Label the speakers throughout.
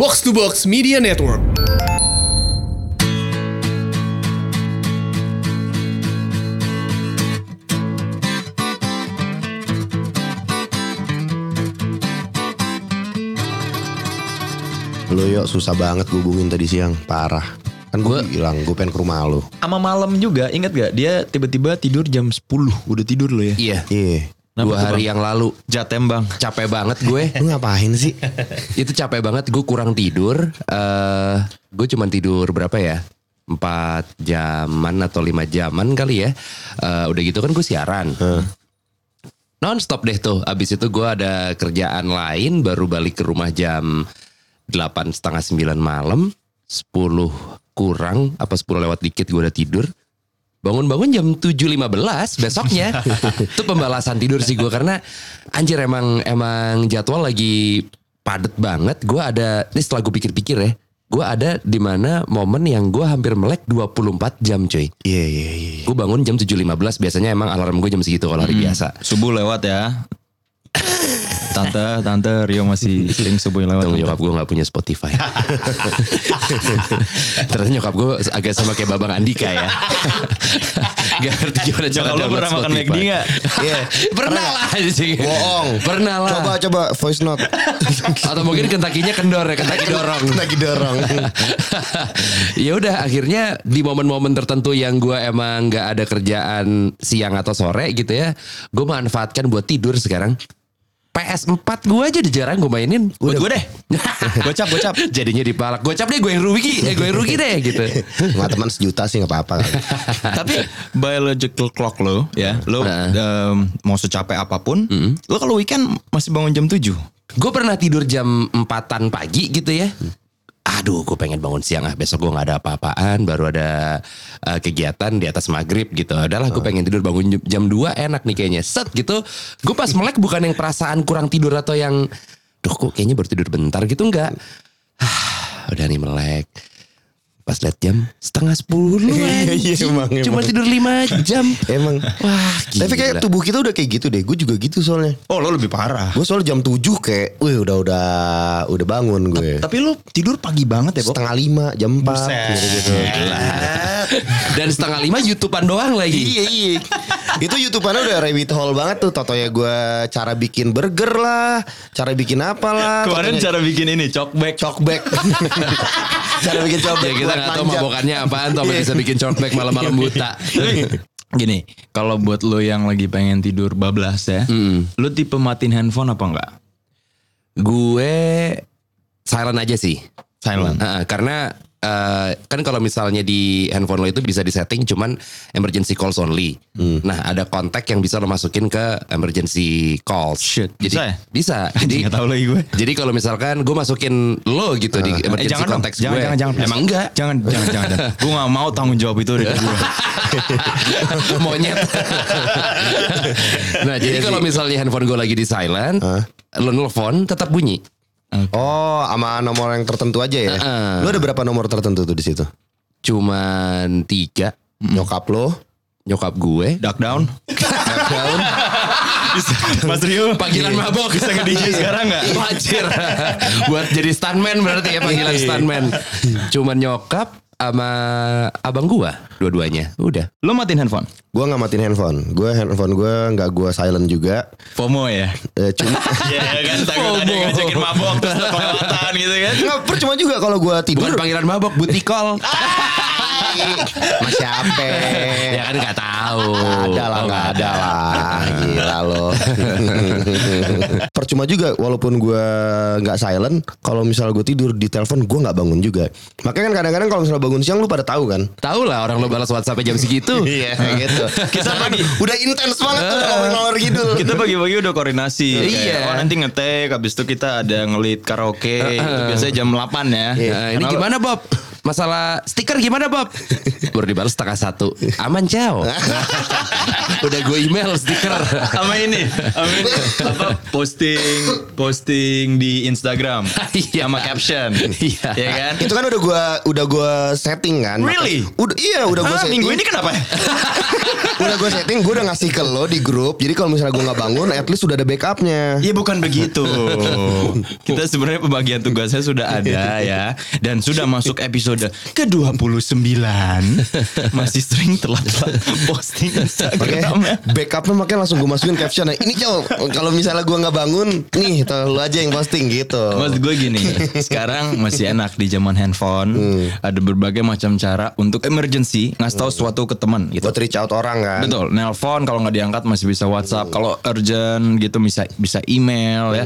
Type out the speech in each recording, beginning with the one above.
Speaker 1: Box to Box Media Network.
Speaker 2: Lu yuk susah banget hubungin tadi siang Parah Kan gue
Speaker 3: Gua-
Speaker 2: bilang gue pengen ke rumah lu
Speaker 3: Sama malam juga, ingat gak? Dia tiba-tiba tidur jam 10, udah tidur lo ya.
Speaker 4: Iya.
Speaker 2: Iya
Speaker 3: Kenapa
Speaker 4: dua
Speaker 3: tuh,
Speaker 4: hari
Speaker 3: Bang?
Speaker 4: yang lalu
Speaker 3: Jatem bang.
Speaker 4: capek banget gue.
Speaker 2: Lu ngapain sih?
Speaker 4: itu capek banget. Gue kurang tidur. eh gue cuman tidur berapa ya? Empat jaman atau lima jaman kali ya. Eh, udah gitu kan gue siaran. Non stop deh tuh. Abis itu gue ada kerjaan lain. Baru balik ke rumah jam delapan setengah sembilan malam. Sepuluh kurang apa sepuluh lewat dikit gue udah tidur. Bangun-bangun jam 7.15 besoknya. Itu pembalasan tidur sih gue karena anjir emang emang jadwal lagi padet banget. Gue ada ini setelah gue pikir-pikir ya. Gue ada di mana momen yang gue hampir melek 24 jam cuy.
Speaker 2: Iya iya iya
Speaker 4: Gue bangun jam 7.15 biasanya emang alarm gue jam segitu kalau hari
Speaker 3: Hmm.
Speaker 4: biasa.
Speaker 3: Subuh lewat ya. Tante, tante Rio masih sering subuh lewat.
Speaker 4: Untung nyokap gue gak punya Spotify. Ternyata nyokap gue agak sama kayak Babang Andika ya. gak ngerti gimana cara
Speaker 3: Nyokap lo
Speaker 4: download
Speaker 3: pernah makan
Speaker 4: Spotify.
Speaker 3: McD gak?
Speaker 2: Iya.
Speaker 4: Pernah lah anjing.
Speaker 2: Bohong.
Speaker 4: Pernah lah.
Speaker 2: Coba coba voice note
Speaker 4: Atau mungkin kentakinya kendor ya, kentaki dorong.
Speaker 2: Lagi dorong
Speaker 4: ya udah akhirnya di momen-momen tertentu yang gua emang nggak ada kerjaan siang atau sore gitu ya, gue manfaatkan buat tidur sekarang. PS4 gua aja udah jarang gue mainin.
Speaker 3: Buat gue deh. Gocap, gocap.
Speaker 4: Jadinya dipalak. Gocap deh gue yang rugi, eh gue yang rugi deh gitu.
Speaker 2: Nggak teman sejuta sih gak apa-apa kali.
Speaker 3: Tapi biological clock lo ya, lo
Speaker 4: Heeh.
Speaker 3: em, mau secapek apapun, lo kalau weekend masih bangun jam 7.
Speaker 4: Gue pernah tidur jam empatan pagi gitu ya. Aduh, gue pengen bangun siang ah. Besok gue nggak ada apa-apaan. Baru ada eh, kegiatan di atas maghrib gitu. Adalah gue pengen tidur bangun jam- jam 2 enak nih kayaknya. Set gitu. Gue pas melek bukan yang perasaan kurang tidur atau yang... Duh kok kayaknya baru tidur bentar gitu enggak. Ah, udah nih melek. Pas liat jam setengah sepuluh
Speaker 2: Iya, iya,
Speaker 4: anjing.
Speaker 2: emang,
Speaker 4: Cuma
Speaker 2: emang.
Speaker 4: tidur lima jam.
Speaker 2: Emang
Speaker 4: Wah gila.
Speaker 2: Tapi kayak tubuh kita udah kayak gitu deh Gue juga gitu soalnya
Speaker 3: Oh, lo lebih parah.
Speaker 2: Gue soalnya jam 7 kayak Wih udah udah Udah bangun gue
Speaker 3: Tapi lo tidur pagi banget ya, Bob?
Speaker 2: Setengah lima Jam 4 gitu
Speaker 4: Dan setengah lima YouTubean doang lagi.
Speaker 2: Iya iya. Itu YouTube-annya udah rabbit hole banget tuh. Totonya gue cara bikin burger lah, cara bikin apalah.
Speaker 3: Kemarin
Speaker 2: totonya-
Speaker 3: cara bikin ini, cokbek.
Speaker 2: cokbek. cara bikin cokbek.
Speaker 4: Ya kita
Speaker 2: buat
Speaker 4: nggak tahu
Speaker 2: panjang.
Speaker 4: mabokannya apaan tuh sampai bisa bikin cornflake
Speaker 3: Iya.
Speaker 4: malam-malam buta.
Speaker 3: Gini, kalau buat lo yang lagi pengen tidur bablas ya, lo tipe matiin handphone apa enggak?
Speaker 4: Gue silent aja sih.
Speaker 3: Silent.
Speaker 4: Heeh, karena eh, kan kalau misalnya di handphone lo itu bisa disetting cuman emergency calls only.
Speaker 3: Hmm.
Speaker 4: Nah, ada kontak yang bisa lo masukin ke emergency calls.
Speaker 3: Shit,
Speaker 4: Jadi,
Speaker 3: bisa ya?
Speaker 4: Bisa.
Speaker 3: Jadi Ya,
Speaker 4: Jadi
Speaker 3: nggak tahu lagi gue.
Speaker 4: jadi kalau misalkan gue masukin lo gitu di
Speaker 3: Eh,
Speaker 4: emergency
Speaker 3: jangan dong,
Speaker 4: konteks
Speaker 3: jangan,
Speaker 4: gue.
Speaker 3: jangan, jangan, please.
Speaker 4: Emang enggak?
Speaker 3: Jangan, jangan, jangan. jangan. gue gak mau tanggung jawab itu dari gue.
Speaker 4: monyet. nah, jadi kalau misalnya handphone gue lagi di silent, lo nelfon tetap bunyi.
Speaker 2: Oh, sama nomor yang tertentu aja ya.
Speaker 4: Heeh.
Speaker 2: Lu ada berapa nomor tertentu tuh di situ?
Speaker 4: Cuman tiga
Speaker 2: Nyokap lo,
Speaker 4: nyokap gue.
Speaker 3: Duck down.
Speaker 2: Daun,
Speaker 3: Mas Rio.
Speaker 4: Panggilan mabok
Speaker 3: Iya. Bisa nge DJ sekarang gak?
Speaker 4: Wajir. Buat jadi stuntman berarti ya panggilan
Speaker 2: Iya.
Speaker 4: stuntman. Cuman nyokap sama abang gua dua-duanya. Udah.
Speaker 3: Lo matiin handphone?
Speaker 2: gue nggak matiin handphone. Gue handphone gue nggak gue silent juga.
Speaker 3: FOMO ya?
Speaker 2: Eh, cuma
Speaker 3: Iya kan, takut ada yang ngajakin mabok terus lo kelewatan gitu kan.
Speaker 2: Nggak, percuma juga kalau gue
Speaker 4: Bukan
Speaker 2: tidur.
Speaker 4: panggilan mabok, butikol.
Speaker 2: Mas siapa?
Speaker 4: ya kan nggak tahu.
Speaker 2: Ada lah,
Speaker 4: Oh,
Speaker 2: nggak ada lah. Gila lo. Percuma juga, walaupun gue nggak silent, kalau misal gue tidur di telepon, gue nggak bangun juga. Makanya kan kadang-kadang kalau misalnya bangun siang, lu pada tahu kan?
Speaker 4: Tahu lah orang lo balas WhatsApp jam segitu.
Speaker 2: Iya, gitu. Kita pagi udah intens banget tuh ngomong-ngomong gitu.
Speaker 3: Kita pagi-pagi udah koordinasi. kayak,
Speaker 4: Iya.
Speaker 3: Oh nanti ngetek, habis itu kita ada ngelit karaoke. itu biasanya jam 8 ya.
Speaker 2: Iya.
Speaker 4: Nah, ini
Speaker 3: Karena lo-
Speaker 4: gimana Bob? Masalah stiker gimana Bob? Baru dibalas setengah satu. Aman jauh. Udah gue email stiker.
Speaker 3: sama ini, sama ini apa posting posting di Instagram
Speaker 4: Iya.
Speaker 3: sama caption.
Speaker 4: Iya.
Speaker 3: Iya kan?
Speaker 2: Itu kan udah gua udah gua setting kan.
Speaker 3: Really?
Speaker 2: Udah iya udah gua
Speaker 3: Ah,
Speaker 2: setting.
Speaker 3: minggu ini kenapa? ya?
Speaker 2: udah gue setting, gue udah ngasih ke lo di grup. Jadi kalau misalnya gue nggak bangun, at least udah ada backupnya.
Speaker 3: Ya bukan begitu. Kita sebenarnya pembagian tugasnya sudah ada ya dan sudah masuk episode ke-29. Masih sering telat-telat posting
Speaker 2: Oke,
Speaker 3: Instagram. ya.
Speaker 2: backupnya makanya langsung gue masukin captionnya. Ini cow, kalau misalnya gue nggak bangun, nih tuh, lo aja yang posting gitu.
Speaker 3: Maksud gue gini, sekarang masih enak di zaman handphone,
Speaker 2: Hmm.
Speaker 3: ada berbagai macam cara untuk emergency ngasih tahu sesuatu ke teman gitu.
Speaker 2: Buat reach out orang kan. Hmm.
Speaker 3: Betul, nelpon kalau nggak diangkat masih bisa WhatsApp. Kalau urgent gitu bisa bisa email ya.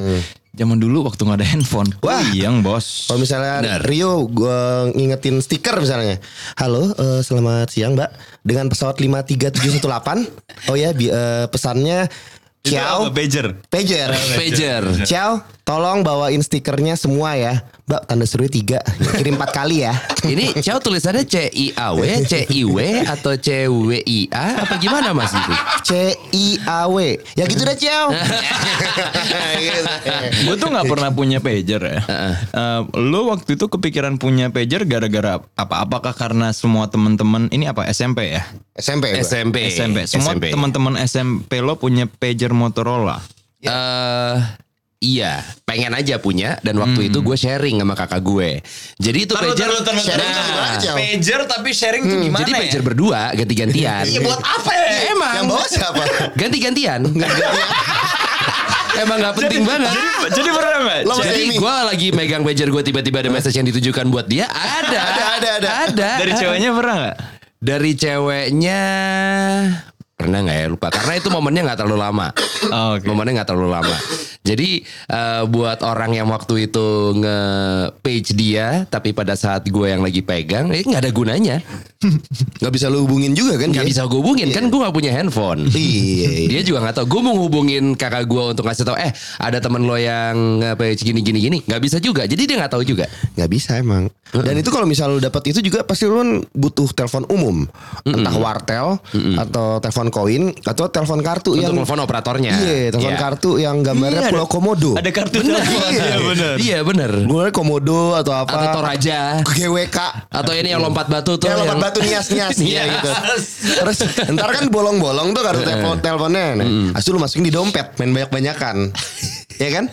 Speaker 3: Zaman dulu waktu nggak ada handphone,
Speaker 2: Wah.
Speaker 3: wah yang bos.
Speaker 2: Kalau misalnya Rio gue ngingetin stiker misalnya. Halo, eh, selamat siang Mbak. Dengan pesawat 53718. Oh ya, bi- eh, pesannya
Speaker 3: Itu apa, Oh,
Speaker 2: ciao
Speaker 3: pager.
Speaker 2: pager.
Speaker 4: Pager.
Speaker 2: Ciao, tolong bawain stikernya semua ya. Mbak, tanda serunya tiga. Kirim empat kali ya.
Speaker 4: Ini Ciao tulisannya C I A W, C I W atau C W I A apa gimana Mas itu?
Speaker 2: C I A W. Ya gitu dah, Ciao. Gitu.
Speaker 3: Gue tuh nggak pernah punya pager ya. Eh, lo waktu itu kepikiran punya pager gara-gara apa? Apakah karena semua teman-teman ini apa SMP ya?
Speaker 2: SMP. gua.
Speaker 4: SMP.
Speaker 3: SMP. Semua
Speaker 4: SMP.
Speaker 3: teman-teman SMP lo punya pager Motorola.
Speaker 4: eh iya, pengen aja punya dan
Speaker 3: Hmm.
Speaker 4: waktu itu gue sharing sama kakak gue. Jadi itu pager.
Speaker 2: Sharing
Speaker 4: Nah,
Speaker 2: tuh gimana, Ciao?
Speaker 3: Pager tapi sharing tuh gimana ya?
Speaker 4: jadi pager berdua ganti-gantian.
Speaker 2: Iya, buat apa ya?
Speaker 4: Emang.
Speaker 2: Yang bawa siapa?
Speaker 4: ganti-gantian. Emang gak penting banget.
Speaker 3: Jadi beneran Mbak?
Speaker 2: Lo
Speaker 4: Jadi
Speaker 2: Amy.
Speaker 4: gue lagi megang pager gue tiba-tiba ada message yang ditujukan buat dia. Ada.
Speaker 2: Ada, ada, ada.
Speaker 3: Dari ceweknya pernah nggak?
Speaker 4: Dari ceweknya pernah nggak ya lupa karena itu momennya nggak terlalu lama
Speaker 3: Oh, oke.
Speaker 4: momennya nggak terlalu lama jadi eh, buat orang yang waktu itu nge page dia tapi pada saat gue yang lagi pegang eh, nggak ada gunanya
Speaker 2: Gak bisa lu hubungin juga kan?
Speaker 4: nggak
Speaker 2: Jay?
Speaker 4: bisa gue hubungin kan gue nggak punya handphone
Speaker 2: Iya. iya.
Speaker 4: dia juga nggak tahu gue mau ngubungin kakak gue untuk ngasih tahu eh ada teman lo yang nge page gini gini gini nggak bisa juga jadi dia nggak tahu juga
Speaker 2: nggak bisa emang. Dan itu kalau misal lu dapat itu juga pasti lu kan butuh telepon umum, entah wartel atau telepon koin atau telepon kartu
Speaker 4: untuk
Speaker 2: yang
Speaker 4: telepon operatornya
Speaker 2: iya telepon
Speaker 4: Iya.
Speaker 2: kartu yang gambarnya
Speaker 3: Iya, ada-
Speaker 2: pulau komodo.
Speaker 3: Ada kartu telepon. Iya benar.
Speaker 4: iya bener
Speaker 2: Mulai komodo atau apa?
Speaker 4: atau Toraja
Speaker 2: GWK.
Speaker 4: Atau ini yang lompat batu tuh
Speaker 2: Ya lompat
Speaker 4: yang-
Speaker 2: batu nias-nias Iya gitu. Terus ntar kan bolong-bolong tuh kartu telepon teleponnya. Nah, Asli lu masukin di dompet, main banyak-banyakan. ya kan?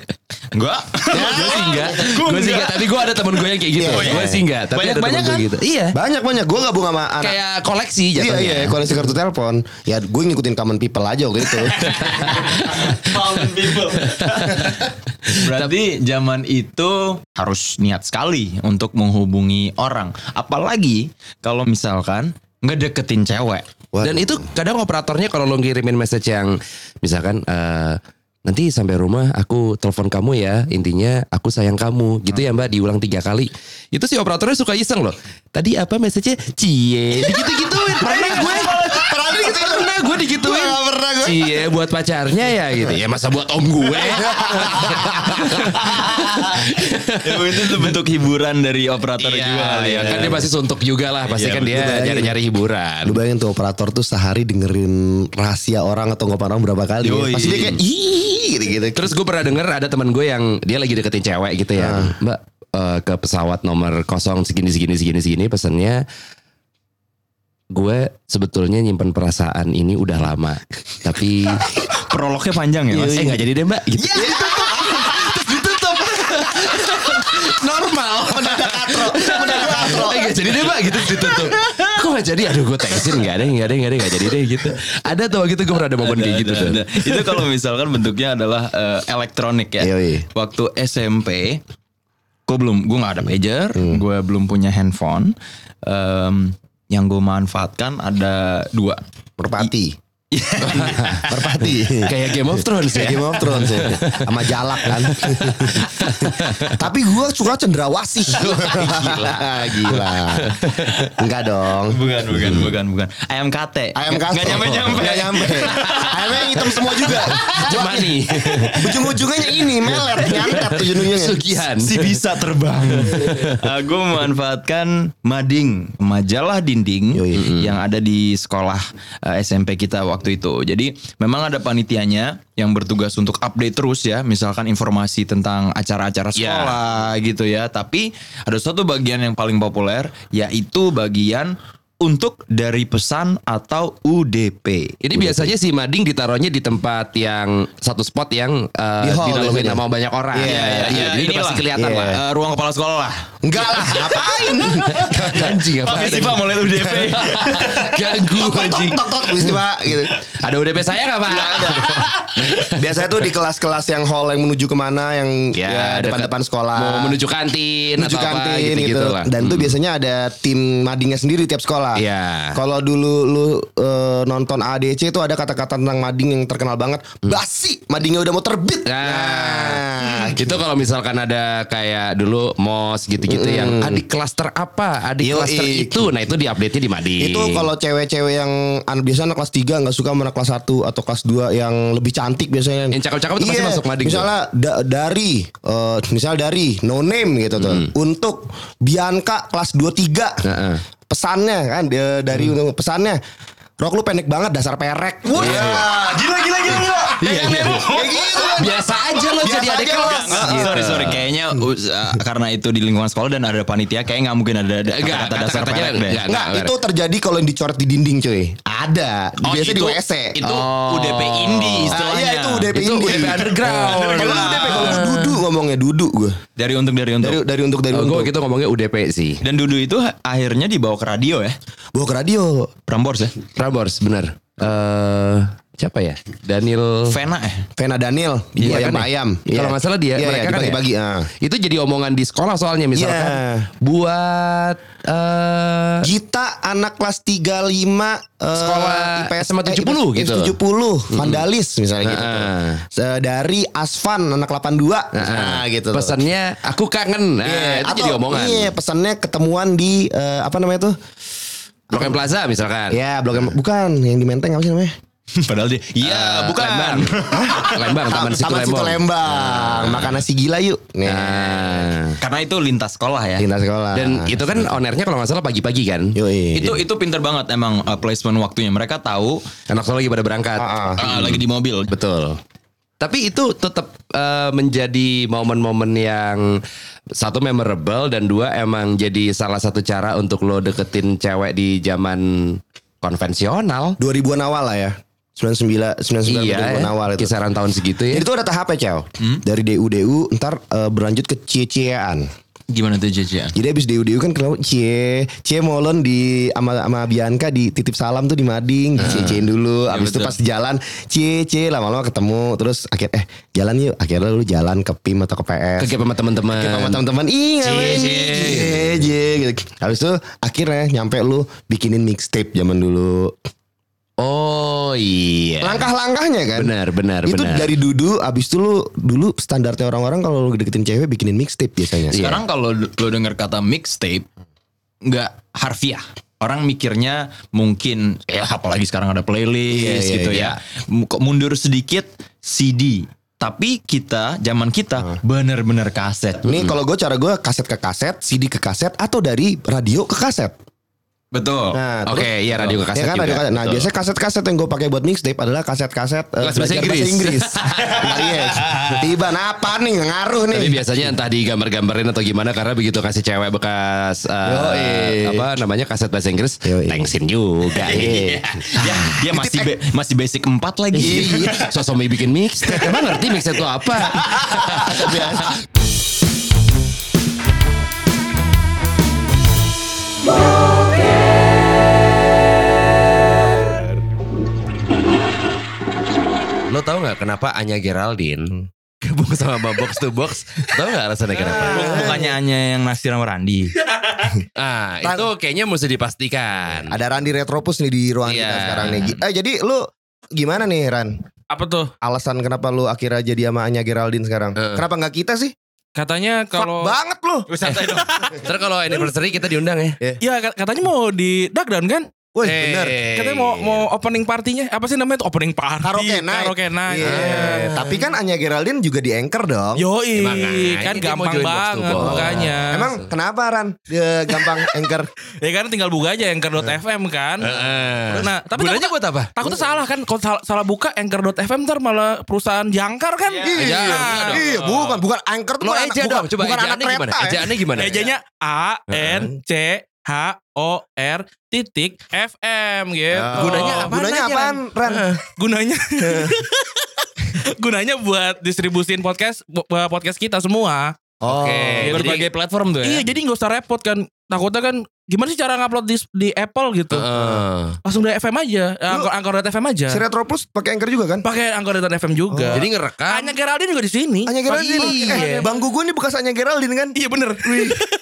Speaker 3: Gua.
Speaker 4: Gue sih enggak
Speaker 3: Gua
Speaker 4: Gue sih enggak Tapi gue ada temen gue yang kayak gitu
Speaker 2: Iya, iya.
Speaker 4: Gue sih enggak Tapi ada temen
Speaker 3: Banyak-banyak
Speaker 4: gue
Speaker 3: kan?
Speaker 4: gitu Iya
Speaker 2: Banyak-banyak gua gabung sama anak
Speaker 4: Kayak koleksi
Speaker 2: Iya
Speaker 4: jatuhnya
Speaker 2: iya koleksi kartu telepon. Ya gue ngikutin common people aja waktu itu.
Speaker 3: Common people. Berarti zaman itu harus niat sekali untuk menghubungi orang. Apalagi kalau misalkan ngedeketin cewek.
Speaker 2: Waduh.
Speaker 4: Dan itu kadang operatornya kalau lo ngirimin message yang misalkan eh, nanti sampai rumah aku telepon kamu ya intinya aku sayang kamu gitu ya mbak diulang tiga kali itu si operatornya suka iseng loh tadi apa message-nya cie gitu gituin pernah gue
Speaker 2: Pernah gitu
Speaker 4: pernah gue digituin
Speaker 2: Gue gak pernah gue.
Speaker 4: cie buat pacarnya ya gitu Iya, ya masa buat om gue
Speaker 3: Ya, itu tuh bentuk hiburan dari operator juga. kali
Speaker 4: iya,
Speaker 3: ya.
Speaker 4: kan dia pasti suntuk juga lah pasti
Speaker 3: Iya,
Speaker 4: kan dia
Speaker 2: betul.
Speaker 4: nyari-nyari hiburan
Speaker 2: Lu bayangin tuh operator tuh sehari dengerin rahasia orang atau ngopan orang berapa kali. Ya.
Speaker 3: Yoi.
Speaker 2: Pasti dia kayak ih gitu gitu.
Speaker 4: Terus gue pernah denger ada teman gue yang dia lagi deketin cewek gitu ya.
Speaker 3: Ah.
Speaker 4: Mbak eh, ke pesawat nomor kosong segini segini segini segini pesannya gue sebetulnya nyimpen perasaan ini udah lama tapi
Speaker 3: prolognya panjang ya, Mas.
Speaker 4: eh nggak jadi deh mbak gitu. Terus ditutup normal eh nggak jadi deh mbak gitu terus ditutup kok nggak jadi aduh gue tensin nggak ada nggak ada nggak ada nggak jadi deh gitu ada tuh waktu itu gue pernah ada momen kayak gitu
Speaker 3: Ada,
Speaker 4: tuh
Speaker 3: ada. Itu kalau misalkan bentuknya adalah eh, elektronik ya.
Speaker 4: Iya,
Speaker 2: Yoi.
Speaker 3: Waktu SMP, gue belum, gue nggak ada pager,
Speaker 4: Hmm.
Speaker 3: gue belum punya handphone. Em, yang gue manfaatkan ada dua.
Speaker 2: Merpati. Merpati.
Speaker 4: Kayak Game of Thrones ya.
Speaker 2: Game of Thrones ya. Sama jalak kan. Tapi gue suka cendrawasih. Gila. Gila. Enggak dong.
Speaker 3: Bukan, bukan, bukan, bukan. Ayam kate.
Speaker 2: Hmm. Ayam kastel.
Speaker 3: Nggak- nggak nyampe-nyampe.
Speaker 2: Nggak nyampe. Ayamnya yang hitam semua juga.
Speaker 4: Cuma nih.
Speaker 2: Ujung-ujungnya ini meler. Nyantet
Speaker 3: Iya,
Speaker 2: ujung-ujungnya.
Speaker 4: Sugihan.
Speaker 3: Si bisa terbang. Aku memanfaatkan mading, majalah dinding
Speaker 2: Yoi. Hmm.
Speaker 3: Mm-mm. yang ada di sekolah eh, SMP kita waktu itu. Jadi memang ada panitianya yang bertugas untuk update terus ya, misalkan informasi tentang acara-acara
Speaker 4: Ya.
Speaker 3: sekolah gitu ya. Tapi ada satu bagian yang paling populer yaitu bagian untuk dari pesan atau UDP.
Speaker 2: Iya,
Speaker 4: Ini biasanya si Mading ditaruhnya di tempat yang satu spot yang uh,
Speaker 2: Di hall
Speaker 4: dilaluin
Speaker 2: biasanya.
Speaker 4: sama banyak orang.
Speaker 2: Iya,
Speaker 3: Nah,
Speaker 4: Iya,
Speaker 2: iya,
Speaker 4: iya. Jadi
Speaker 3: Inilah,
Speaker 4: pasti kelihatan
Speaker 2: iya.
Speaker 4: lah.
Speaker 3: eh, ruang kepala sekolah lah.
Speaker 2: Enggak lah. Ngapain?
Speaker 4: Anjing apa?
Speaker 3: Tapi sih Pak mulai UDP.
Speaker 4: Ganggu anjing.
Speaker 2: Tok tok mesti pak gitu.
Speaker 4: Ada UDP saya nggak Pak? Ya,
Speaker 2: Biasanya tuh di kelas-kelas yang hall yang menuju kemana yang ya,
Speaker 4: dekat-
Speaker 2: depan-depan sekolah.
Speaker 4: Mau menuju kantin
Speaker 2: menuju
Speaker 4: atau
Speaker 2: kantin
Speaker 4: apa
Speaker 2: gitu,
Speaker 4: gitu-gitu lah. Hmm.
Speaker 2: dan tuh biasanya ada tim madingnya sendiri tiap sekolah.
Speaker 4: Iya.
Speaker 2: Kalau dulu lu eh, nonton ADC itu ada kata-kata tentang mading yang terkenal banget.
Speaker 4: Hmm.
Speaker 2: Basi, madingnya udah mau terbit. Nah.
Speaker 4: Nah, itu kalau misalkan ada kayak dulu mos gitu-gitu yang adik klaster apa, adik
Speaker 2: Hmm. Yoi.
Speaker 4: klaster itu, nah itu diupdate-nya di Mading.
Speaker 2: Itu kalau cewek-cewek yang an- biasanya anak kelas 3 nggak suka sama anak kelas 1 atau kelas 2 yang lebih cantik biasanya.
Speaker 4: Yang cakep-cakep itu pasti
Speaker 2: Iya,
Speaker 4: masuk mading tuh.
Speaker 2: Misalnya da- dari eh, misalnya dari no name gitu tuh.
Speaker 4: Hmm.
Speaker 2: Untuk Bianca kelas 2 3.
Speaker 4: Heeh.
Speaker 2: Pesannya kan dia- dari
Speaker 4: Hmm.
Speaker 2: untuk pesannya Rok lu pendek banget dasar perek. Wah,
Speaker 3: Ah, gila gila gila. gila.
Speaker 4: Iya, iya, iya.
Speaker 2: kayak gitu. kan.
Speaker 4: biasa aja lo
Speaker 2: Biasa
Speaker 4: jadi adik
Speaker 2: aja lo.
Speaker 4: kelas.
Speaker 3: Nggak,
Speaker 4: Gitu.
Speaker 3: Sorry sorry kayaknya us- uh, karena itu di lingkungan sekolah dan ada panitia kayak nggak mungkin ada ada
Speaker 4: Nggak,
Speaker 3: kata-kata Iya. dasar
Speaker 4: kata-katanya
Speaker 3: pelek deh.
Speaker 4: nggak.
Speaker 2: Enggak, itu terjadi kalau yang dicoret di dinding, cuy. Ada.
Speaker 3: Oh,
Speaker 2: Biasanya di
Speaker 3: itu-
Speaker 2: WC.
Speaker 3: Itu
Speaker 4: Oh,
Speaker 3: UDP indie
Speaker 2: Oh. Ah,
Speaker 3: istilahnya.
Speaker 2: iya, itu UDP
Speaker 4: Itu
Speaker 2: indie.
Speaker 4: UDP underground.
Speaker 2: Kalau lu UDP kalau lu dudu iya. ngomongnya dudu gue.
Speaker 3: Dari untuk dari untuk.
Speaker 2: Dari dari untuk dari
Speaker 4: Gue
Speaker 2: Oh, untuk.
Speaker 4: waktu itu gitu ngomongnya UDP sih.
Speaker 3: Dan Dudu itu ha- akhirnya dibawa ke radio ya.
Speaker 2: Bawa ke radio.
Speaker 3: Prambors ya.
Speaker 4: Prambors bener. Eh siapa ya? Daniel
Speaker 3: Vena ya.
Speaker 2: Vena Daniel di
Speaker 4: Iya,
Speaker 2: ayam
Speaker 4: kan ya?
Speaker 2: ayam.
Speaker 4: Kalau nggak salah dia
Speaker 2: Iya,
Speaker 4: mereka
Speaker 2: iya,
Speaker 4: kan ya?
Speaker 2: dibagi-bagi. ah.
Speaker 4: itu jadi omongan di sekolah soalnya misalkan
Speaker 2: Iya.
Speaker 4: buat eh
Speaker 2: Gita anak kelas 35 eh,
Speaker 4: Sekolah SMA 70
Speaker 2: eh,
Speaker 4: gitu.
Speaker 2: 70 Vandalis misalnya gitu. tuh.
Speaker 4: Heeh.
Speaker 2: Se- Dari Asvan anak 82. Nah, gitu. tuh.
Speaker 4: pesannya aku kangen. Nah,
Speaker 2: Iya,
Speaker 4: itu
Speaker 2: atau-
Speaker 4: jadi omongan.
Speaker 2: Iya, pesannya ketemuan di eh, apa namanya tuh?
Speaker 4: Blok M Plaza misalkan.
Speaker 2: Ya, blog yang- bukan yang di Menteng apa sih namanya?
Speaker 3: Padahal dia. Iya
Speaker 2: Ah,
Speaker 4: Eh,
Speaker 3: bukan.
Speaker 4: Lembang. Lembang, Taman Situ Lembang.
Speaker 2: Lembang. Makan nasi gila yuk. Nih,
Speaker 4: Nah,
Speaker 3: Karena itu lintas sekolah ya.
Speaker 2: Lintas sekolah.
Speaker 4: dan itu kan ownernya kalau nggak salah pagi-pagi kan.
Speaker 2: Yoi.
Speaker 3: Itu itu pinter banget emang uh, placement waktunya. Mereka tahu
Speaker 4: Anak sekolah lagi pada berangkat.
Speaker 2: Ah, ah.
Speaker 3: uh, lagi di mobil.
Speaker 4: Betul. Tapi itu tetap eh, menjadi momen-momen yang satu memorable dan dua emang jadi salah satu cara untuk lo deketin cewek di zaman konvensional.
Speaker 2: 2000-an awal lah ya. 99 99
Speaker 4: Iya,
Speaker 2: 2000-an awal itu.
Speaker 4: kisaran tahun segitu ya.
Speaker 2: Jadi itu ada tahapnya, Cel. Dari DU DU ntar eh, berlanjut ke cie-ciean.
Speaker 3: Gimana tuh Jaja?
Speaker 2: Jadi abis DU DU kan kenapa cie cie molen di ama ama Bianca di titip salam tuh di Mading, di
Speaker 4: Ah.
Speaker 2: cie-ciein dulu.
Speaker 4: Iya,
Speaker 2: Abis itu
Speaker 3: betul.
Speaker 2: pas jalan cie cie lama-lama ketemu terus akhir eh jalan yuk akhirnya lu jalan ke PIM atau ke PS.
Speaker 4: Kegep sama teman-teman.
Speaker 2: sama teman-teman ih ngapain
Speaker 3: Cie,
Speaker 2: nih?
Speaker 3: cie.
Speaker 2: Cie, cie, gitu. Habis itu akhirnya nyampe lu bikinin mixtape zaman dulu.
Speaker 4: Oh iya.
Speaker 2: Langkah-langkahnya kan.
Speaker 4: Benar, benar,
Speaker 2: itu
Speaker 4: benar.
Speaker 2: dari dudu abis itu lu dulu standarnya orang-orang kalau lu deketin cewek bikinin mixtape biasanya.
Speaker 4: Iya.
Speaker 3: Sekarang kalau lo denger kata mixtape nggak harfiah. Orang mikirnya mungkin ya apalagi sekarang ada playlist
Speaker 2: Iya, iya,
Speaker 3: gitu
Speaker 2: iya.
Speaker 3: ya. M- kok Mundur sedikit CD. Tapi kita zaman
Speaker 2: Nah.
Speaker 3: kita bener-bener kaset.
Speaker 2: Ini kalau gue cara gue kaset ke kaset, CD ke kaset atau dari radio ke kaset.
Speaker 3: Betul.
Speaker 2: Nah,
Speaker 4: Oke, iya radio ke
Speaker 2: ya
Speaker 4: kaset
Speaker 2: kan,
Speaker 4: juga.
Speaker 2: radio kaset. Nah,
Speaker 4: Betul.
Speaker 2: biasanya kaset-kaset yang gue pakai buat mixtape adalah kaset-kaset eh,
Speaker 4: Kelas bahasa
Speaker 2: belajar
Speaker 4: Inggris.
Speaker 2: Nah, iya. Tiba apa nih nggak ngaruh nih.
Speaker 4: Tapi biasanya entah digambar-gambarin atau gimana karena begitu kasih cewek bekas eh,
Speaker 2: Yoi.
Speaker 4: apa namanya kaset bahasa Inggris,
Speaker 2: Yoi.
Speaker 4: thanksin juga.
Speaker 3: Iya. dia, dia
Speaker 2: Nah.
Speaker 3: masih ba- masih basic 4 lagi.
Speaker 4: Iya, sosok mie bikin mixtape. Emang ngerti mixtape itu apa? Lo tau gak kenapa Anya Geraldine gabung sama Box to Box? Tau gak alasannya kenapa?
Speaker 2: Nah.
Speaker 3: Bukannya hanya yang naksir sama Randi.
Speaker 4: Ah, itu kayaknya mesti dipastikan.
Speaker 2: Ada Randi Hmm. Retropus nih di ruangan
Speaker 4: Iya.
Speaker 2: kita sekarang nih. Eh, jadi lu gimana nih Ran?
Speaker 1: Apa tuh?
Speaker 2: Alasan kenapa lu akhirnya jadi sama Anya Geraldine sekarang? Kenapa nggak kita sih?
Speaker 1: Katanya
Speaker 2: Fuck
Speaker 1: kalau
Speaker 2: banget lu.
Speaker 3: santai dong.
Speaker 4: Ntar kalau anniversary kita diundang ya.
Speaker 1: Ya kat- katanya mau di Duckdown kan?
Speaker 2: Woi,
Speaker 4: Eh,
Speaker 2: bener. Iya,
Speaker 1: Katanya mau mau opening partinya apa sih namanya tuh opening party?
Speaker 2: Karaoke night.
Speaker 1: Karaoke night. Ah.
Speaker 2: Iya. Tapi kan Anya Geraldine juga di anchor dong.
Speaker 1: Yoi,
Speaker 4: Ya, makanya.
Speaker 1: kan
Speaker 4: Dia mau
Speaker 1: gampang
Speaker 4: join box to
Speaker 1: banget
Speaker 4: box.
Speaker 1: makanya.
Speaker 2: Emang kenapa Ran? Dia gampang anchor.
Speaker 1: ya kan tinggal buka aja anchor.fm kan. Nah, tapi
Speaker 4: Gunanya
Speaker 1: takut-
Speaker 4: buat apa?
Speaker 1: Takutnya salah kan kalau salah, salah buka anchor.fm ntar malah perusahaan jangkar kan.
Speaker 2: Iya, iya, bukan bukan anchor tuh
Speaker 4: Lo
Speaker 2: bukan anak-
Speaker 4: eja
Speaker 2: bukan,
Speaker 4: dong, coba
Speaker 2: bukan anak
Speaker 4: ejaannya gimana?
Speaker 2: kereta. ya.
Speaker 4: Ejaannya gimana?
Speaker 1: Ejanya A N C H O R titik FM gitu.
Speaker 4: Gunanya apa?
Speaker 2: Oh, Gunanya
Speaker 4: aja,
Speaker 2: apaan, Ran?
Speaker 1: Gunanya
Speaker 4: Eh.
Speaker 1: Gunanya buat distribusin podcast bu- buat podcast kita semua.
Speaker 2: Oh.
Speaker 4: Oke. jadi-
Speaker 3: Berbagai platform
Speaker 4: Gitu
Speaker 3: tuh ya.
Speaker 1: Iya, jadi nggak usah repot kan. Takutnya kan gimana sih cara ngupload di, di Apple gitu?
Speaker 4: Heeh.
Speaker 1: Langsung dari FM aja, eh, angkor angkor FM aja.
Speaker 2: Si Retroplus pakai anchor juga kan?
Speaker 1: Pakai angkor FM juga.
Speaker 4: Oh. Jadi ngerekam.
Speaker 1: Hanya Geraldine juga di sini.
Speaker 2: Anya Geraldine.
Speaker 4: Iya.
Speaker 2: Eh, bangku gue nih bekas Anya Geraldine kan?
Speaker 1: Iya bener.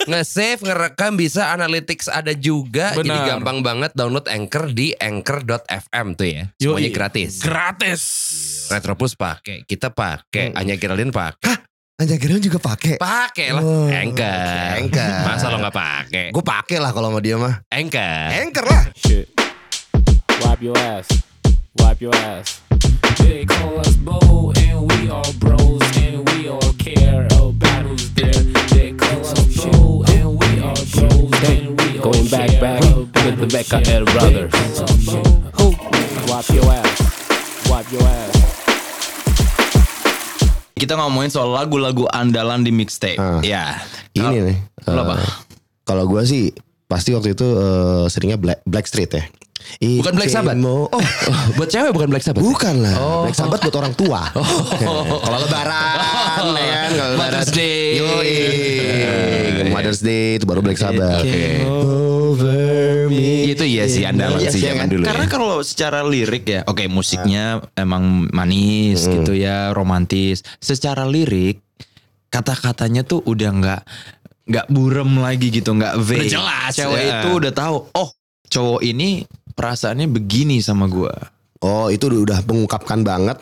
Speaker 4: nge-save, ngerekam bisa analytics ada juga. Jadi
Speaker 1: Benar.
Speaker 4: gampang banget download Anchor di anchor.fm tuh ya. Semuanya
Speaker 1: Yoi.
Speaker 4: gratis.
Speaker 1: Gratis.
Speaker 4: Retropus pakai, kita pakai, Anya Geraldine pakai.
Speaker 2: Anja Geraldine juga pakai.
Speaker 4: Pakai lah
Speaker 2: Oh,
Speaker 4: Anchor.
Speaker 2: Anchor.
Speaker 4: Masa lo nggak pakai?
Speaker 2: Gue pakai lah kalau sama dia mah.
Speaker 4: Anchor.
Speaker 2: Anchor lah.
Speaker 5: shit. Wipe your ass. Wipe your ass. They call us bro, and we are bros, and we all care about who's there. They call us bro, and we are bros, and we all Going back, back with Rebecca and brothers. Wipe your ass. Wipe your ass.
Speaker 3: Kita ngomongin soal lagu-lagu andalan di mixtape.
Speaker 2: Ah.
Speaker 3: Ya.
Speaker 2: Ini nih.
Speaker 3: Lu apa?
Speaker 2: eh, Kalau gue sih pasti waktu itu eh, seringnya Black Black Street ya. It's
Speaker 4: Bukan Black Sabbath?
Speaker 2: emo- Oh,
Speaker 4: Buat cewek bukan Black Sabbath.
Speaker 2: bukan lah.
Speaker 3: Oh.
Speaker 2: Black Sabbath buat orang tua. kalau lebaran,
Speaker 4: Oh.
Speaker 2: ya kan? Kalau
Speaker 4: Mother's
Speaker 2: lebaran.
Speaker 4: Day.
Speaker 2: Yoi. Mother's Day itu baru Black Sabbath.
Speaker 3: Oke.
Speaker 2: Over me.
Speaker 4: Itu iya sih andalan
Speaker 3: Iya
Speaker 4: sih
Speaker 3: sih, kan?
Speaker 4: zaman dulu.
Speaker 3: Karena
Speaker 4: ya.
Speaker 3: kalau secara lirik ya, oke musiknya emang manis gitu ya, romantis. Secara lirik kata-katanya tuh udah nggak nggak burem lagi gitu, nggak vague.
Speaker 4: Udah jelas,
Speaker 3: Cewek
Speaker 4: ya.
Speaker 3: itu udah tahu, oh cowok ini perasaannya begini sama gua.
Speaker 2: Oh, itu udah mengungkapkan banget.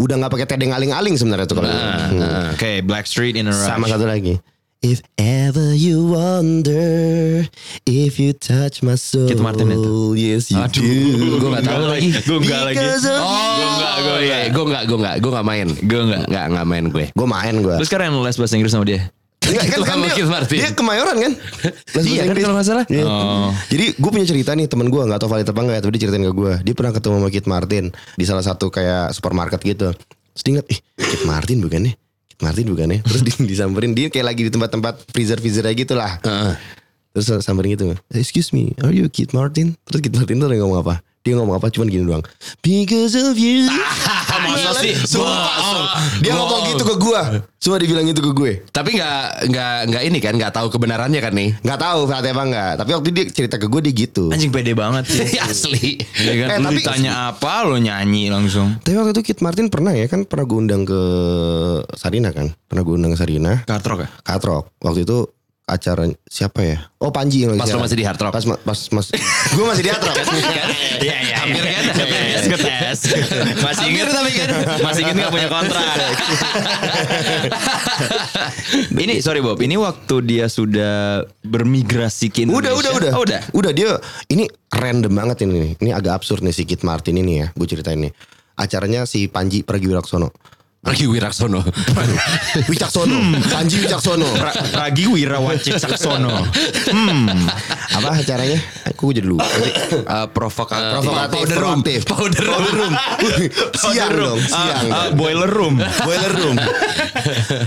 Speaker 2: Udah nggak pakai tedeng aling-aling sebenarnya tuh kalau.
Speaker 3: Nah,
Speaker 2: Hmm.
Speaker 3: nah. Oke, Blackstreet in a Rush.
Speaker 2: Sama satu lagi. If ever you wonder if you touch my soul,
Speaker 3: Keith Martin itu.
Speaker 2: yes you
Speaker 3: Aduh,
Speaker 2: do.
Speaker 3: gue nggak tahu lagi. Gue nggak lagi.
Speaker 2: Because of
Speaker 4: Gue enggak, gue
Speaker 3: Iya.
Speaker 4: enggak, gue enggak, gue enggak, gue enggak main.
Speaker 3: Gue nggak.
Speaker 4: Enggak, enggak main gue.
Speaker 2: Gue main gue.
Speaker 3: Terus sekarang yang les bahasa Inggris sama dia.
Speaker 2: Enggak, kan
Speaker 4: Gitu sama
Speaker 2: dia,
Speaker 4: Keith Martin.
Speaker 2: dia kemayoran kan? Les
Speaker 4: Iya
Speaker 2: bahasa
Speaker 4: kan,
Speaker 2: Inggris.
Speaker 4: kalau nggak salah.
Speaker 2: Iya.
Speaker 3: Oh.
Speaker 2: Jadi gue punya cerita nih temen gue nggak tahu valid apa nggak ya, tapi dia ceritain ke gue. Dia pernah ketemu sama Kit Martin di salah satu kayak supermarket gitu. Terus dia inget, ih Kit Martin bukan nih? Kit Martin bukan nih? Terus di- disamperin dia kayak lagi di tempat-tempat freezer freezer gitu lah. Terus samperin gitu, excuse me, are you Kit Martin? Terus Kit Martin tuh dia ngomong apa? Dia ngomong apa? Cuman gini doang. Because of you.
Speaker 4: masa sih?
Speaker 2: Iya, Sumpah,
Speaker 4: Bohong.
Speaker 2: sumpah. Dia ngomong
Speaker 4: Bohong.
Speaker 2: gitu ke gue. Cuma dibilang gitu ke gue.
Speaker 4: Tapi enggak, enggak, enggak ini kan, enggak tahu kebenarannya kan nih.
Speaker 2: Gak tahu Fatih apa enggak. Tapi waktu dia cerita ke gue dia gitu.
Speaker 3: Anjing pede banget sih.
Speaker 4: Asli.
Speaker 3: Ya kan,
Speaker 2: Eh,
Speaker 3: lu
Speaker 2: tapi-
Speaker 3: ditanya apa lo nyanyi langsung.
Speaker 2: Tapi waktu itu Kit Martin pernah ya kan pernah gue undang ke Sarina kan. Pernah gue undang ke Sarina.
Speaker 3: Kartrok ya?
Speaker 2: Katrok. Waktu itu acara siapa ya? Oh Panji yang lagi
Speaker 4: Pas lo
Speaker 2: siaran.
Speaker 4: masih di Hard Rock.
Speaker 2: Pas ma- pas mas gue masih di Hard Rock.
Speaker 3: Iya iya. Hampir kan? Ketes ketes. Masih inget tapi kan? Masih inget gak punya kontrak. ini sorry Bob, ini waktu dia sudah bermigrasi ke
Speaker 2: Udah udah
Speaker 3: Indonesia.
Speaker 2: udah.
Speaker 3: Oh, udah.
Speaker 2: Udah dia ini random banget ini nih. Ini agak absurd nih si Kit Martin ini ya. Gue ceritain nih. Acaranya si Panji Pragiwaksono.
Speaker 4: Pergi Wiraksono.
Speaker 2: Wicaksono. Panji Wicaksono.
Speaker 3: Pra, Pragi Wirawan Cicaksono. Hmm.
Speaker 2: Apa acaranya? Aku jadi lupa.
Speaker 4: Eh, provokatif.
Speaker 2: Provokatif,
Speaker 4: Powder room.
Speaker 2: provokatif.
Speaker 4: Powder room.
Speaker 2: siang dong, siang.
Speaker 3: Ah, ah, boiler room.
Speaker 2: Boiler room.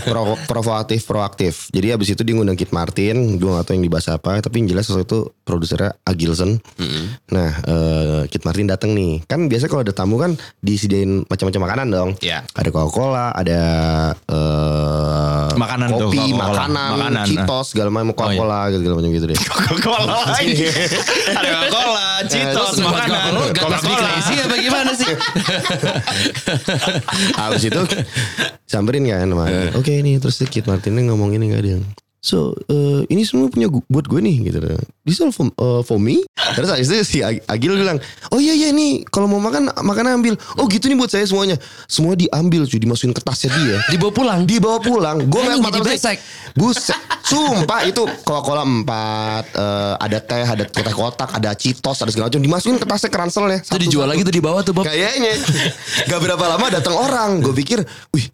Speaker 2: Pro- provokatif, proaktif. Jadi abis itu dia ngundang Kit Martin, gue gak tau yang dibahas apa, tapi yang jelas waktu itu produsernya Agilson. Nah, eh, Kit Martin datang nih. Kan biasa kalau ada tamu kan disediain macam-macam makanan dong.
Speaker 4: Iya.
Speaker 2: Ada Coca-Cola, ada eh,
Speaker 3: Makanan tuh,
Speaker 2: kopi,
Speaker 3: Coca-Cola.
Speaker 2: makanan,
Speaker 3: Makanan. ah. Oh, iya.
Speaker 2: Cheetos, segala macam Coca-Cola, segala macam gitu deh.
Speaker 3: Coca-Cola lagi. Ada Coca-Cola,
Speaker 2: Eh,
Speaker 3: Cheetos, makanan.
Speaker 4: Lo gak tapi
Speaker 3: Coca-Cola.
Speaker 4: crazy apa gimana sih? Eh.
Speaker 2: Abis itu samperin kan sama Oke ini terus Kit Martinnya ngomong ini gak dia So eh, ini semua punya gu- buat gue nih gitu. This all for, eh, for me. Terus habis itu si Ag- Agil bilang, oh iya iya nih kalau mau makan makan ambil. Oh gitu nih buat saya semuanya. Semua diambil cuy dimasukin ke tasnya dia.
Speaker 4: Dibawa pulang.
Speaker 2: Dibawa pulang. Gue ngeliat
Speaker 4: Anjing,
Speaker 2: mata
Speaker 4: jadi
Speaker 2: lu,
Speaker 4: besek.
Speaker 2: Buset. Sumpah itu Coca-Cola 4 eh, ada teh, ada teh kotak, ada Citos, ada segala macam dimasukin ke tasnya keransel ya.
Speaker 4: Itu dijual lagi tuh di bawah tuh Bob.
Speaker 2: Kayaknya Gak berapa lama datang orang Gue pikir Wih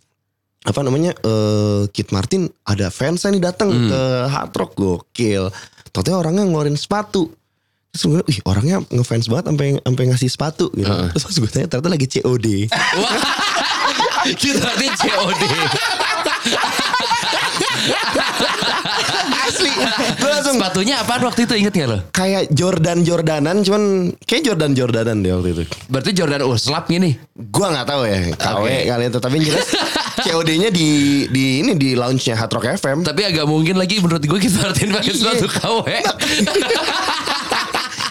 Speaker 2: apa namanya eh Kit Martin ada fansnya nih datang ke Hard Rock gokil. Ternyata orangnya ngeluarin sepatu. Terus gue, bilang, wih orangnya ngefans banget sampai sampai ngasih sepatu gitu. Terus pas gue tanya ternyata lagi COD.
Speaker 4: Kita nanti COD.
Speaker 2: Asli. gue langsung
Speaker 4: Sepatunya apaan waktu itu inget gak lo?
Speaker 2: kayak Jordan Jordanan cuman kayak Jordan Jordanan deh waktu itu.
Speaker 4: Berarti Jordan Urslap gini.
Speaker 2: Gua nggak tahu ya KW kali itu tapi yang jelas COD-nya di di ini di lounge-nya Hard Rock FM.
Speaker 4: Tapi agak mungkin lagi menurut gue kita Martin pakai
Speaker 2: Iya.
Speaker 4: sepatu KW.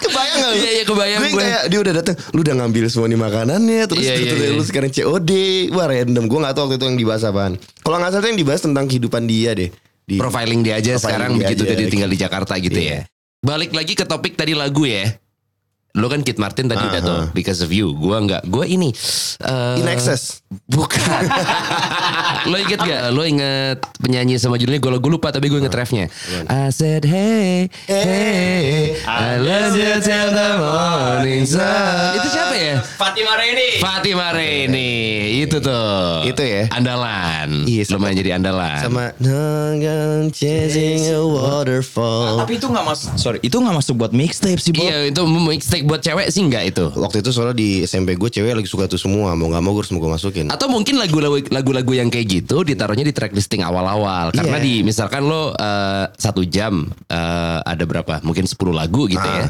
Speaker 2: kebayang gak lu?
Speaker 4: Iya, iya, kebayang
Speaker 2: gue.
Speaker 4: gue.
Speaker 2: kayak dia udah datang, lu udah ngambil semua nih makanannya, terus
Speaker 4: Iya, iya,
Speaker 2: terus
Speaker 4: iya.
Speaker 2: lu sekarang COD. Wah random, gue gak tahu waktu itu yang dibahas apaan. Kalau gak salah tuh yang dibahas tentang kehidupan dia deh. Di,
Speaker 4: Profiling dia aja
Speaker 2: Gitu. Profiling
Speaker 4: sekarang
Speaker 2: dia
Speaker 4: begitu
Speaker 2: aja.
Speaker 4: dia tinggal di Jakarta gitu
Speaker 2: Iya.
Speaker 4: ya. Balik lagi ke topik tadi lagu ya. Lo kan Kid Martin tadi udah tuh Because of You. Gua nggak, gua ini. eh,
Speaker 2: In Excess.
Speaker 4: Bukan. lo inget gak? Lo inget penyanyi sama judulnya? Gue gue lupa tapi gue
Speaker 2: Nah.
Speaker 4: inget refnya. I said hey, hey, I love you till the morning sun. Itu siapa ya?
Speaker 6: Fatima Reni.
Speaker 4: Fatima Reni. Itu tuh.
Speaker 2: Iya. Itu ya.
Speaker 4: Andalan.
Speaker 2: Iya, sama-
Speaker 4: Lumayan jadi andalan.
Speaker 2: Sama Nanggang chasing a waterfall.
Speaker 3: Tapi itu nggak masuk. Sorry, itu nggak masuk buat mixtape sih, Bob.
Speaker 4: Iya itu mixtape buat cewek sih enggak itu.
Speaker 2: Waktu itu soalnya di SMP gue cewek lagi suka tuh semua. Mau gak mau gue harus mau gue masukin.
Speaker 4: Atau mungkin lagu-lagu lagu-lagu yang kayak gitu ditaruhnya di track listing awal-awal karena
Speaker 2: Iya.
Speaker 4: di misalkan lo eh, satu jam eh, ada berapa? Mungkin 10 lagu gitu
Speaker 2: Ah.
Speaker 4: ya.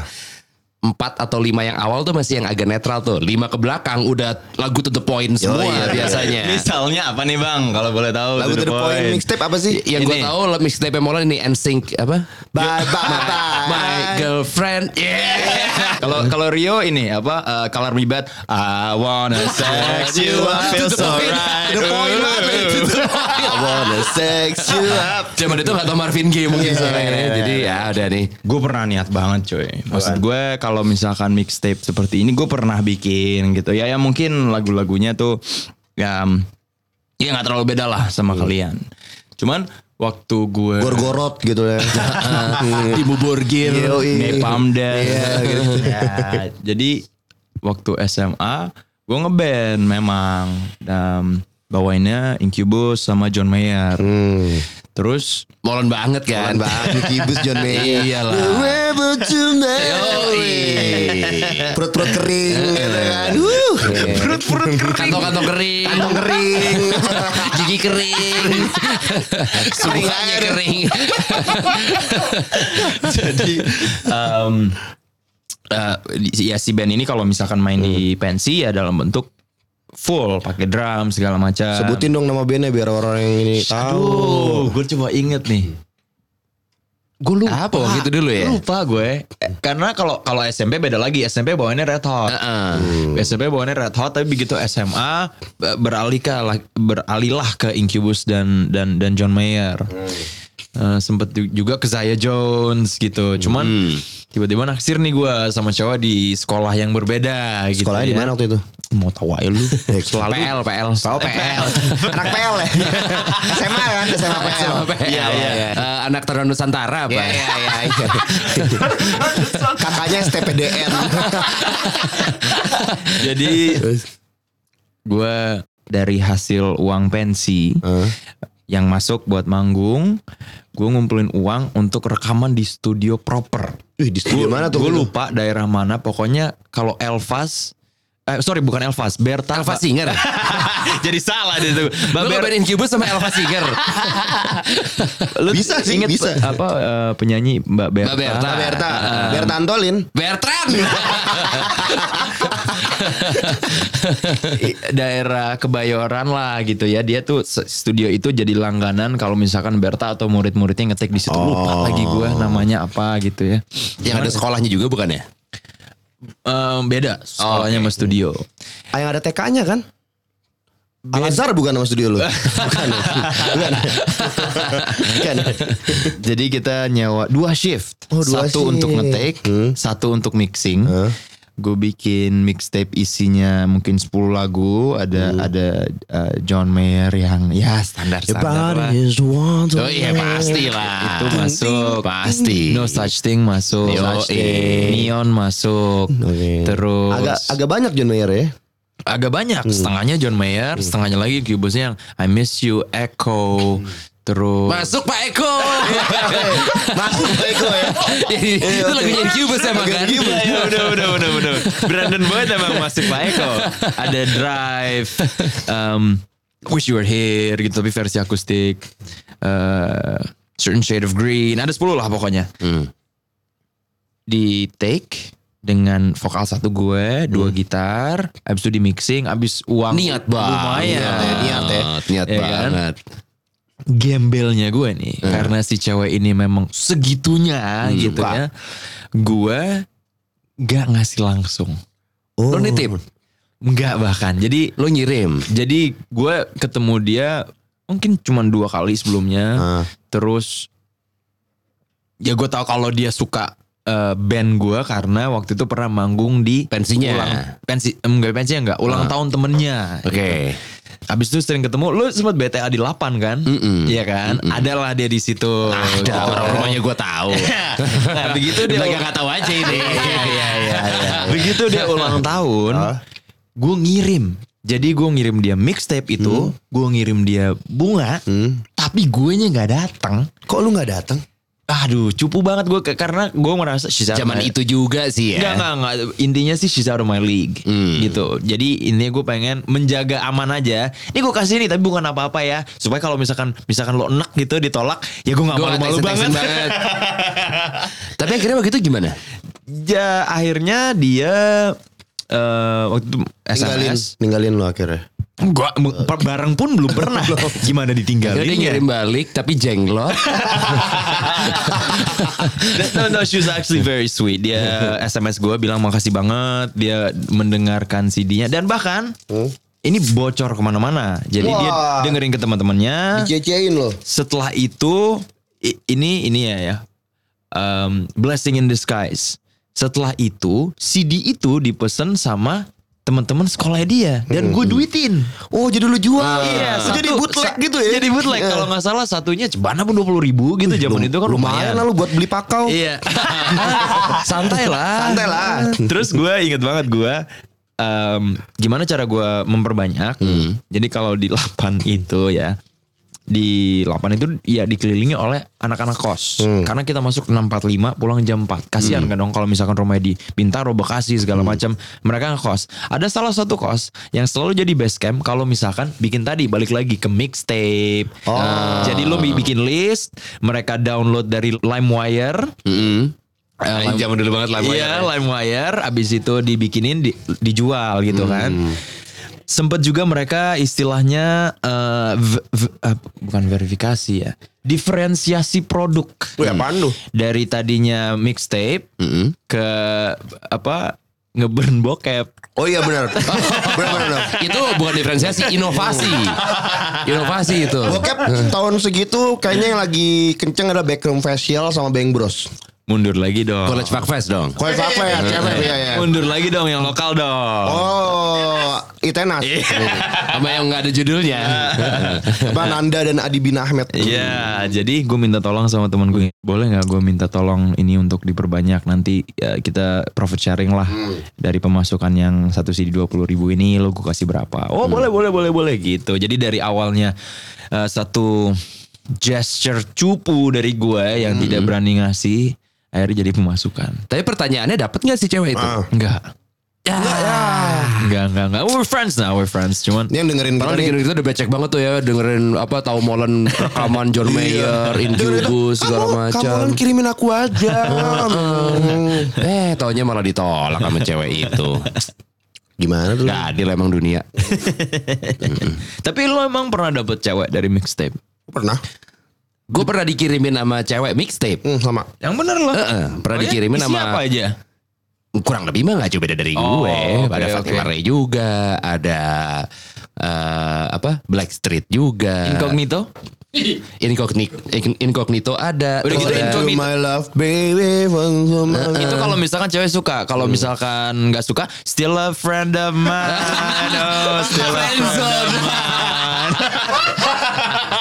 Speaker 4: Empat atau lima yang awal tuh masih yang agak netral tuh. Lima ke belakang udah lagu to the point semua
Speaker 2: iya, iya.
Speaker 4: biasanya.
Speaker 3: Misalnya apa nih bang? Kalau boleh tahu.
Speaker 2: Lagu to the point mixtape apa sih?
Speaker 4: yang gue
Speaker 3: Ini.
Speaker 4: tahu lah mixtape Molan ini NSYNC apa?
Speaker 2: Bye bye
Speaker 4: My
Speaker 2: bye.
Speaker 4: girlfriend. Yeah.
Speaker 3: Kalau kalau Rio ini apa? eh, color me bad. I wanna sex you. I feel
Speaker 4: To the
Speaker 3: so
Speaker 4: point.
Speaker 3: right.
Speaker 2: To the point banget. To the point. I wanna sex you up.
Speaker 4: Zaman itu gak tau Marvin Gaye mungkin
Speaker 2: Iya,
Speaker 4: soalnya. Jadi ya udah nih.
Speaker 3: Gue pernah niat banget coy Maksud gue kalau misalkan mixtape seperti ini Gue pernah bikin gitu Ya ya mungkin lagu-lagunya tuh Ya Ya gak terlalu beda lah sama
Speaker 2: Hmm.
Speaker 3: kalian Cuman waktu gue
Speaker 2: Gorgorot gitu ya.
Speaker 4: Di Borgir.
Speaker 2: Yoi.
Speaker 3: Nepam dan
Speaker 2: Iya, gitu.
Speaker 3: Ya, jadi waktu SMA gue ngeband memang dan bawainnya Incubus sama John Mayer
Speaker 2: Hmm.
Speaker 3: terus
Speaker 4: Molen banget kan.
Speaker 2: Bang Kibus John Mayer.
Speaker 4: Iyalah.
Speaker 2: We will tonight. Perut-perut kering gitu kan. Wuh.
Speaker 3: perut-perut kering
Speaker 4: Kantong-kantong kering.
Speaker 2: Kantong kering.
Speaker 4: Gigi kering. Semuanya kering.
Speaker 3: jadi em, eh, di- ya si band ini kalau misalkan main di pensi ya dalam bentuk full pakai drum segala macam
Speaker 2: Sebutin dong nama bandnya biar orang yang ini tahu.
Speaker 3: aduh gue coba inget nih
Speaker 4: Gue lupa. Apa waktu itu dulu ya?
Speaker 3: Lupa gue. Eh, Karena kalau kalau SMP beda lagi. SMP bawaannya Red Hot.
Speaker 4: Heeh.
Speaker 2: Hmm.
Speaker 3: SMP bawaannya Red Hot tapi begitu SMA eh, beralih ke beralihlah ke Incubus dan dan dan John Mayer.
Speaker 2: Hmm.
Speaker 3: Eh, sempet ju- juga ke Zaya Jones gitu. Cuman
Speaker 2: Hmm.
Speaker 3: tiba-tiba naksir nih gue sama cowok di sekolah yang berbeda gitu.
Speaker 2: Sekolahnya di
Speaker 3: ya.
Speaker 2: mana waktu itu?
Speaker 3: Mau tahu aja lu. Selalu
Speaker 4: PL, PL. PL.
Speaker 2: Eh, Anak PL ya. SMA kan, SMA PL.
Speaker 4: Iya, iya. Eh, anak taruhan Nusantara apa? iya.
Speaker 2: Kakaknya STPDN.
Speaker 3: Jadi gue dari hasil uang pensi yang masuk buat manggung, gue ngumpulin uang untuk rekaman di studio proper.
Speaker 2: Wih, di studio mana tuh? gitu?
Speaker 3: Gue lupa daerah mana. Pokoknya kalau Elvas, eh sorry bukan Elvas, Berta.
Speaker 4: Alfa Singer.
Speaker 3: Jadi salah dia tuh. Mbak
Speaker 4: Lo
Speaker 3: Ber-
Speaker 4: ngebedain Incubus sama Alfa Singer.
Speaker 3: lu
Speaker 2: Bisa sih,
Speaker 3: inget
Speaker 2: bisa.
Speaker 3: pe- Apa eh, penyanyi Mbak Berta?
Speaker 4: Mbak Berta.
Speaker 2: Mbak Berta. Berta Antolin.
Speaker 4: Bertrand.
Speaker 3: I- daerah Kebayoran lah gitu ya. Dia tuh se- studio itu jadi langganan kalau misalkan Berta atau murid-muridnya ngetik di situ lupa lagi gue namanya apa gitu ya.
Speaker 4: Yang ada sekolahnya juga bukan ya?
Speaker 3: Em, beda sekolahnya sama studio.
Speaker 2: Ah, Yang ada TK-nya kan? Al Azhar bukan nama studio lu. bukan. ya? bukan. bukan. ya?
Speaker 3: Jadi kita nyewa dua shift.
Speaker 2: Oh, dua shift.
Speaker 3: satu untuk ngetik,
Speaker 2: Hmm.
Speaker 3: satu untuk mixing. Gue bikin mixtape isinya mungkin 10 lagu, ada ada uh, John Mayer yang ya standar-standar lah.
Speaker 4: Oh iya pasti lah.
Speaker 3: Itu masuk.
Speaker 4: Pasti.
Speaker 3: No such thing masuk.
Speaker 4: No such thing.
Speaker 3: Neon masuk.
Speaker 2: Oke.
Speaker 3: Terus
Speaker 2: Agak agak banyak John Mayer ya.
Speaker 3: agak banyak setengahnya John Mayer setengahnya lagi Cubusnya yang I Miss You Echo terus
Speaker 4: Masuk Pak Eko.
Speaker 2: Masuk Eko ya.
Speaker 4: Iya, itu lagunya Cubes emang kan?
Speaker 3: Ya, udah udah udah udah Brandon banget emang masih Pak Eko ada Drive um, Wish You Were Here gitu tapi versi akustik Eh, Certain Shade of Green ada 10 lah pokoknya
Speaker 4: Hmm.
Speaker 3: di take dengan vokal satu gue dua gitar abis itu di mixing abis uang
Speaker 4: Niat banget.
Speaker 3: lumayan
Speaker 4: Niat, ya. niat
Speaker 3: Iya kan?
Speaker 4: banget.
Speaker 3: gembelnya gue nih karena si cewek ini memang segitunya gitu ya gue gak ngasih langsung
Speaker 4: Lo nitip,
Speaker 3: nggak bahkan jadi
Speaker 4: lo nyirim.
Speaker 3: jadi gue ketemu dia mungkin cuma dua kali sebelumnya
Speaker 2: Ah.
Speaker 3: terus ya gue tahu kalau dia suka eh, band gue karena waktu itu pernah manggung di
Speaker 4: Pensinya. Ah.
Speaker 3: ulang, pensi enggak pensinya enggak ulang tahun temennya
Speaker 4: Oke.
Speaker 3: Abis itu sering ketemu, lu sempat BTA di 8 kan?
Speaker 4: Mm-mm.
Speaker 3: Iya kan? Adalah dia di situ.
Speaker 4: Ada
Speaker 3: Gitu.
Speaker 4: orang rumahnya gue tahu.
Speaker 3: Nah, begitu dia Iya,
Speaker 4: Lagi nggak tahu aja ini. Iya,
Speaker 3: begitu dia ulang tahun, gue ngirim. Jadi gue ngirim dia mixtape
Speaker 4: Hmm.
Speaker 3: itu, gue ngirim dia bunga, tapi gue nya nggak datang.
Speaker 2: Kok lu nggak datang?
Speaker 3: Aduh, cupu banget gue karena gue merasa she's out of
Speaker 4: Zaman
Speaker 3: my-
Speaker 4: itu juga sih
Speaker 3: Nggak,
Speaker 4: ya.
Speaker 3: nggak, nggak. Intinya sih she's out of my league
Speaker 4: Hmm.
Speaker 3: gitu. Jadi intinya gue pengen menjaga aman aja. Ini gue kasih ini tapi bukan apa-apa ya. Supaya kalau misalkan misalkan lo enak gitu ditolak, ya gue nggak
Speaker 4: Gue
Speaker 3: malu-malu banget.
Speaker 4: banget. Tapi akhirnya begitu gimana?
Speaker 3: Ya akhirnya dia eh waktu itu
Speaker 2: Ninggalin,
Speaker 3: SMS.
Speaker 2: ninggalin lu akhirnya.
Speaker 3: Gua me- per- bareng pun belum pernah. Gimana ya?
Speaker 4: Akhirnya dia
Speaker 3: ditinggalinnya?
Speaker 4: ngirim balik tapi jenglot.
Speaker 3: no, no, she was actually very sweet. Dia SMS gue bilang makasih banget. Dia mendengarkan CD-nya dan bahkan ini bocor kemana-mana. Jadi dia
Speaker 2: Wah.
Speaker 3: dengerin ke teman-temannya.
Speaker 2: Dicecein lo.
Speaker 3: Setelah itu i- ini ini ya ya. Um, blessing in disguise. Setelah itu CD itu dipesen sama teman-teman sekolahnya dia dan gue duitin.
Speaker 2: Oh jadi lu jual.
Speaker 3: Iya,
Speaker 2: Itu jadi
Speaker 3: satu-
Speaker 2: bootleg
Speaker 3: sa-
Speaker 2: gitu ya.
Speaker 3: Jadi bootleg kalau nggak salah satunya cebana pun dua puluh ribu gitu zaman itu kan
Speaker 2: lumayan
Speaker 3: lumayan.
Speaker 2: lah lu buat beli pakau.
Speaker 3: Iya. Santai lah.
Speaker 2: Santai lah.
Speaker 3: Terus gue inget banget gue em, gimana cara gue memperbanyak. Jadi kalau di lapan itu ya di lapan itu ya dikelilingi oleh anak-anak kos karena kita masuk 645 pulang jam 4 kasihan kan dong kalau misalkan rumahnya di Bintaro Bekasi segala macam mereka ngekos ada salah satu kos yang selalu jadi base camp kalau misalkan bikin tadi balik lagi ke mixtape Nah, jadi lo bi- bikin list mereka download dari LimeWire
Speaker 4: Mm-mm. Ini zaman dulu banget lah.
Speaker 3: Iya, LimeWire abis itu dibikinin di- dijual gitu kan. Sempet juga mereka istilahnya eh, v- v- eh, bukan verifikasi ya, diferensiasi produk.
Speaker 2: Wih, apaan lu?
Speaker 3: Dari tadinya mixtape ke apa ngeburn bokep.
Speaker 2: Oh iya benar. benar benar. benar.
Speaker 4: itu bukan diferensiasi, inovasi. inovasi itu.
Speaker 2: Bokep tahun segitu kayaknya yang lagi kenceng ada backroom facial sama Bang Bros.
Speaker 3: Mundur lagi dong.
Speaker 4: College Park Fest dong.
Speaker 2: Koi apa ya? Cewek ya ya.
Speaker 3: Mundur lagi dong yang lokal dong.
Speaker 2: Oh, Itenas.
Speaker 3: Iya.
Speaker 4: Sama yang nggak ada judulnya.
Speaker 2: Apa Nanda dan Adi bin Ahmed.
Speaker 3: Iya,
Speaker 4: Hmm.
Speaker 3: jadi gue minta tolong sama temen gue. Boleh nggak gue minta tolong ini untuk diperbanyak nanti ya, kita profit sharing lah
Speaker 4: Hmm.
Speaker 3: dari pemasukan yang satu CD dua puluh ribu ini lo gue kasih berapa?
Speaker 4: Hmm.
Speaker 3: Oh boleh boleh boleh boleh gitu. Jadi dari awalnya eh, satu gesture cupu dari gue yang
Speaker 4: Hmm.
Speaker 3: tidak berani ngasih akhirnya jadi pemasukan.
Speaker 4: Tapi pertanyaannya dapat nggak sih cewek itu?
Speaker 3: Enggak. Ya.
Speaker 4: ya.
Speaker 3: Enggak, enggak, enggak. We're friends now, we're friends. Cuman
Speaker 2: Ini yang dengerin kita
Speaker 4: Padahal
Speaker 2: nih.
Speaker 4: dengerin kita udah becek banget tuh ya dengerin apa tahu molen rekaman
Speaker 3: Iya.
Speaker 4: John Mayer, Incubus segala
Speaker 2: Kamu kan
Speaker 4: macam.
Speaker 2: kirimin aku aja. Hmm.
Speaker 4: Eh, taunya malah ditolak sama cewek itu.
Speaker 2: Gimana tuh?
Speaker 4: Gak adil emang dunia.
Speaker 3: tapi lo emang pernah dapet cewek dari mixtape?
Speaker 2: Pernah.
Speaker 4: Gue pernah dikirimin sama cewek mixtape.
Speaker 2: Hmm, sama.
Speaker 3: Yang bener lo.
Speaker 4: Heeh, pernah
Speaker 3: Oh iya,
Speaker 4: dikirimin sama-
Speaker 3: Siapa Eh, aja?
Speaker 4: Kurang lebih mah gak jauh beda dari
Speaker 3: Oh,
Speaker 4: gue.
Speaker 3: oke,
Speaker 4: ada Fatima
Speaker 3: oke.
Speaker 4: Ray juga, ada eh, apa Black Street juga.
Speaker 3: Incognito?
Speaker 4: Incognito, incognito ada.
Speaker 3: Udah
Speaker 4: terus
Speaker 3: gitu
Speaker 4: ada-
Speaker 3: incognito.
Speaker 2: To my love baby from- from-
Speaker 3: itu Gitu, kalau misalkan cewek suka, kalau misalkan nggak suka, still a friend of mine. Oh, still a friend of mine.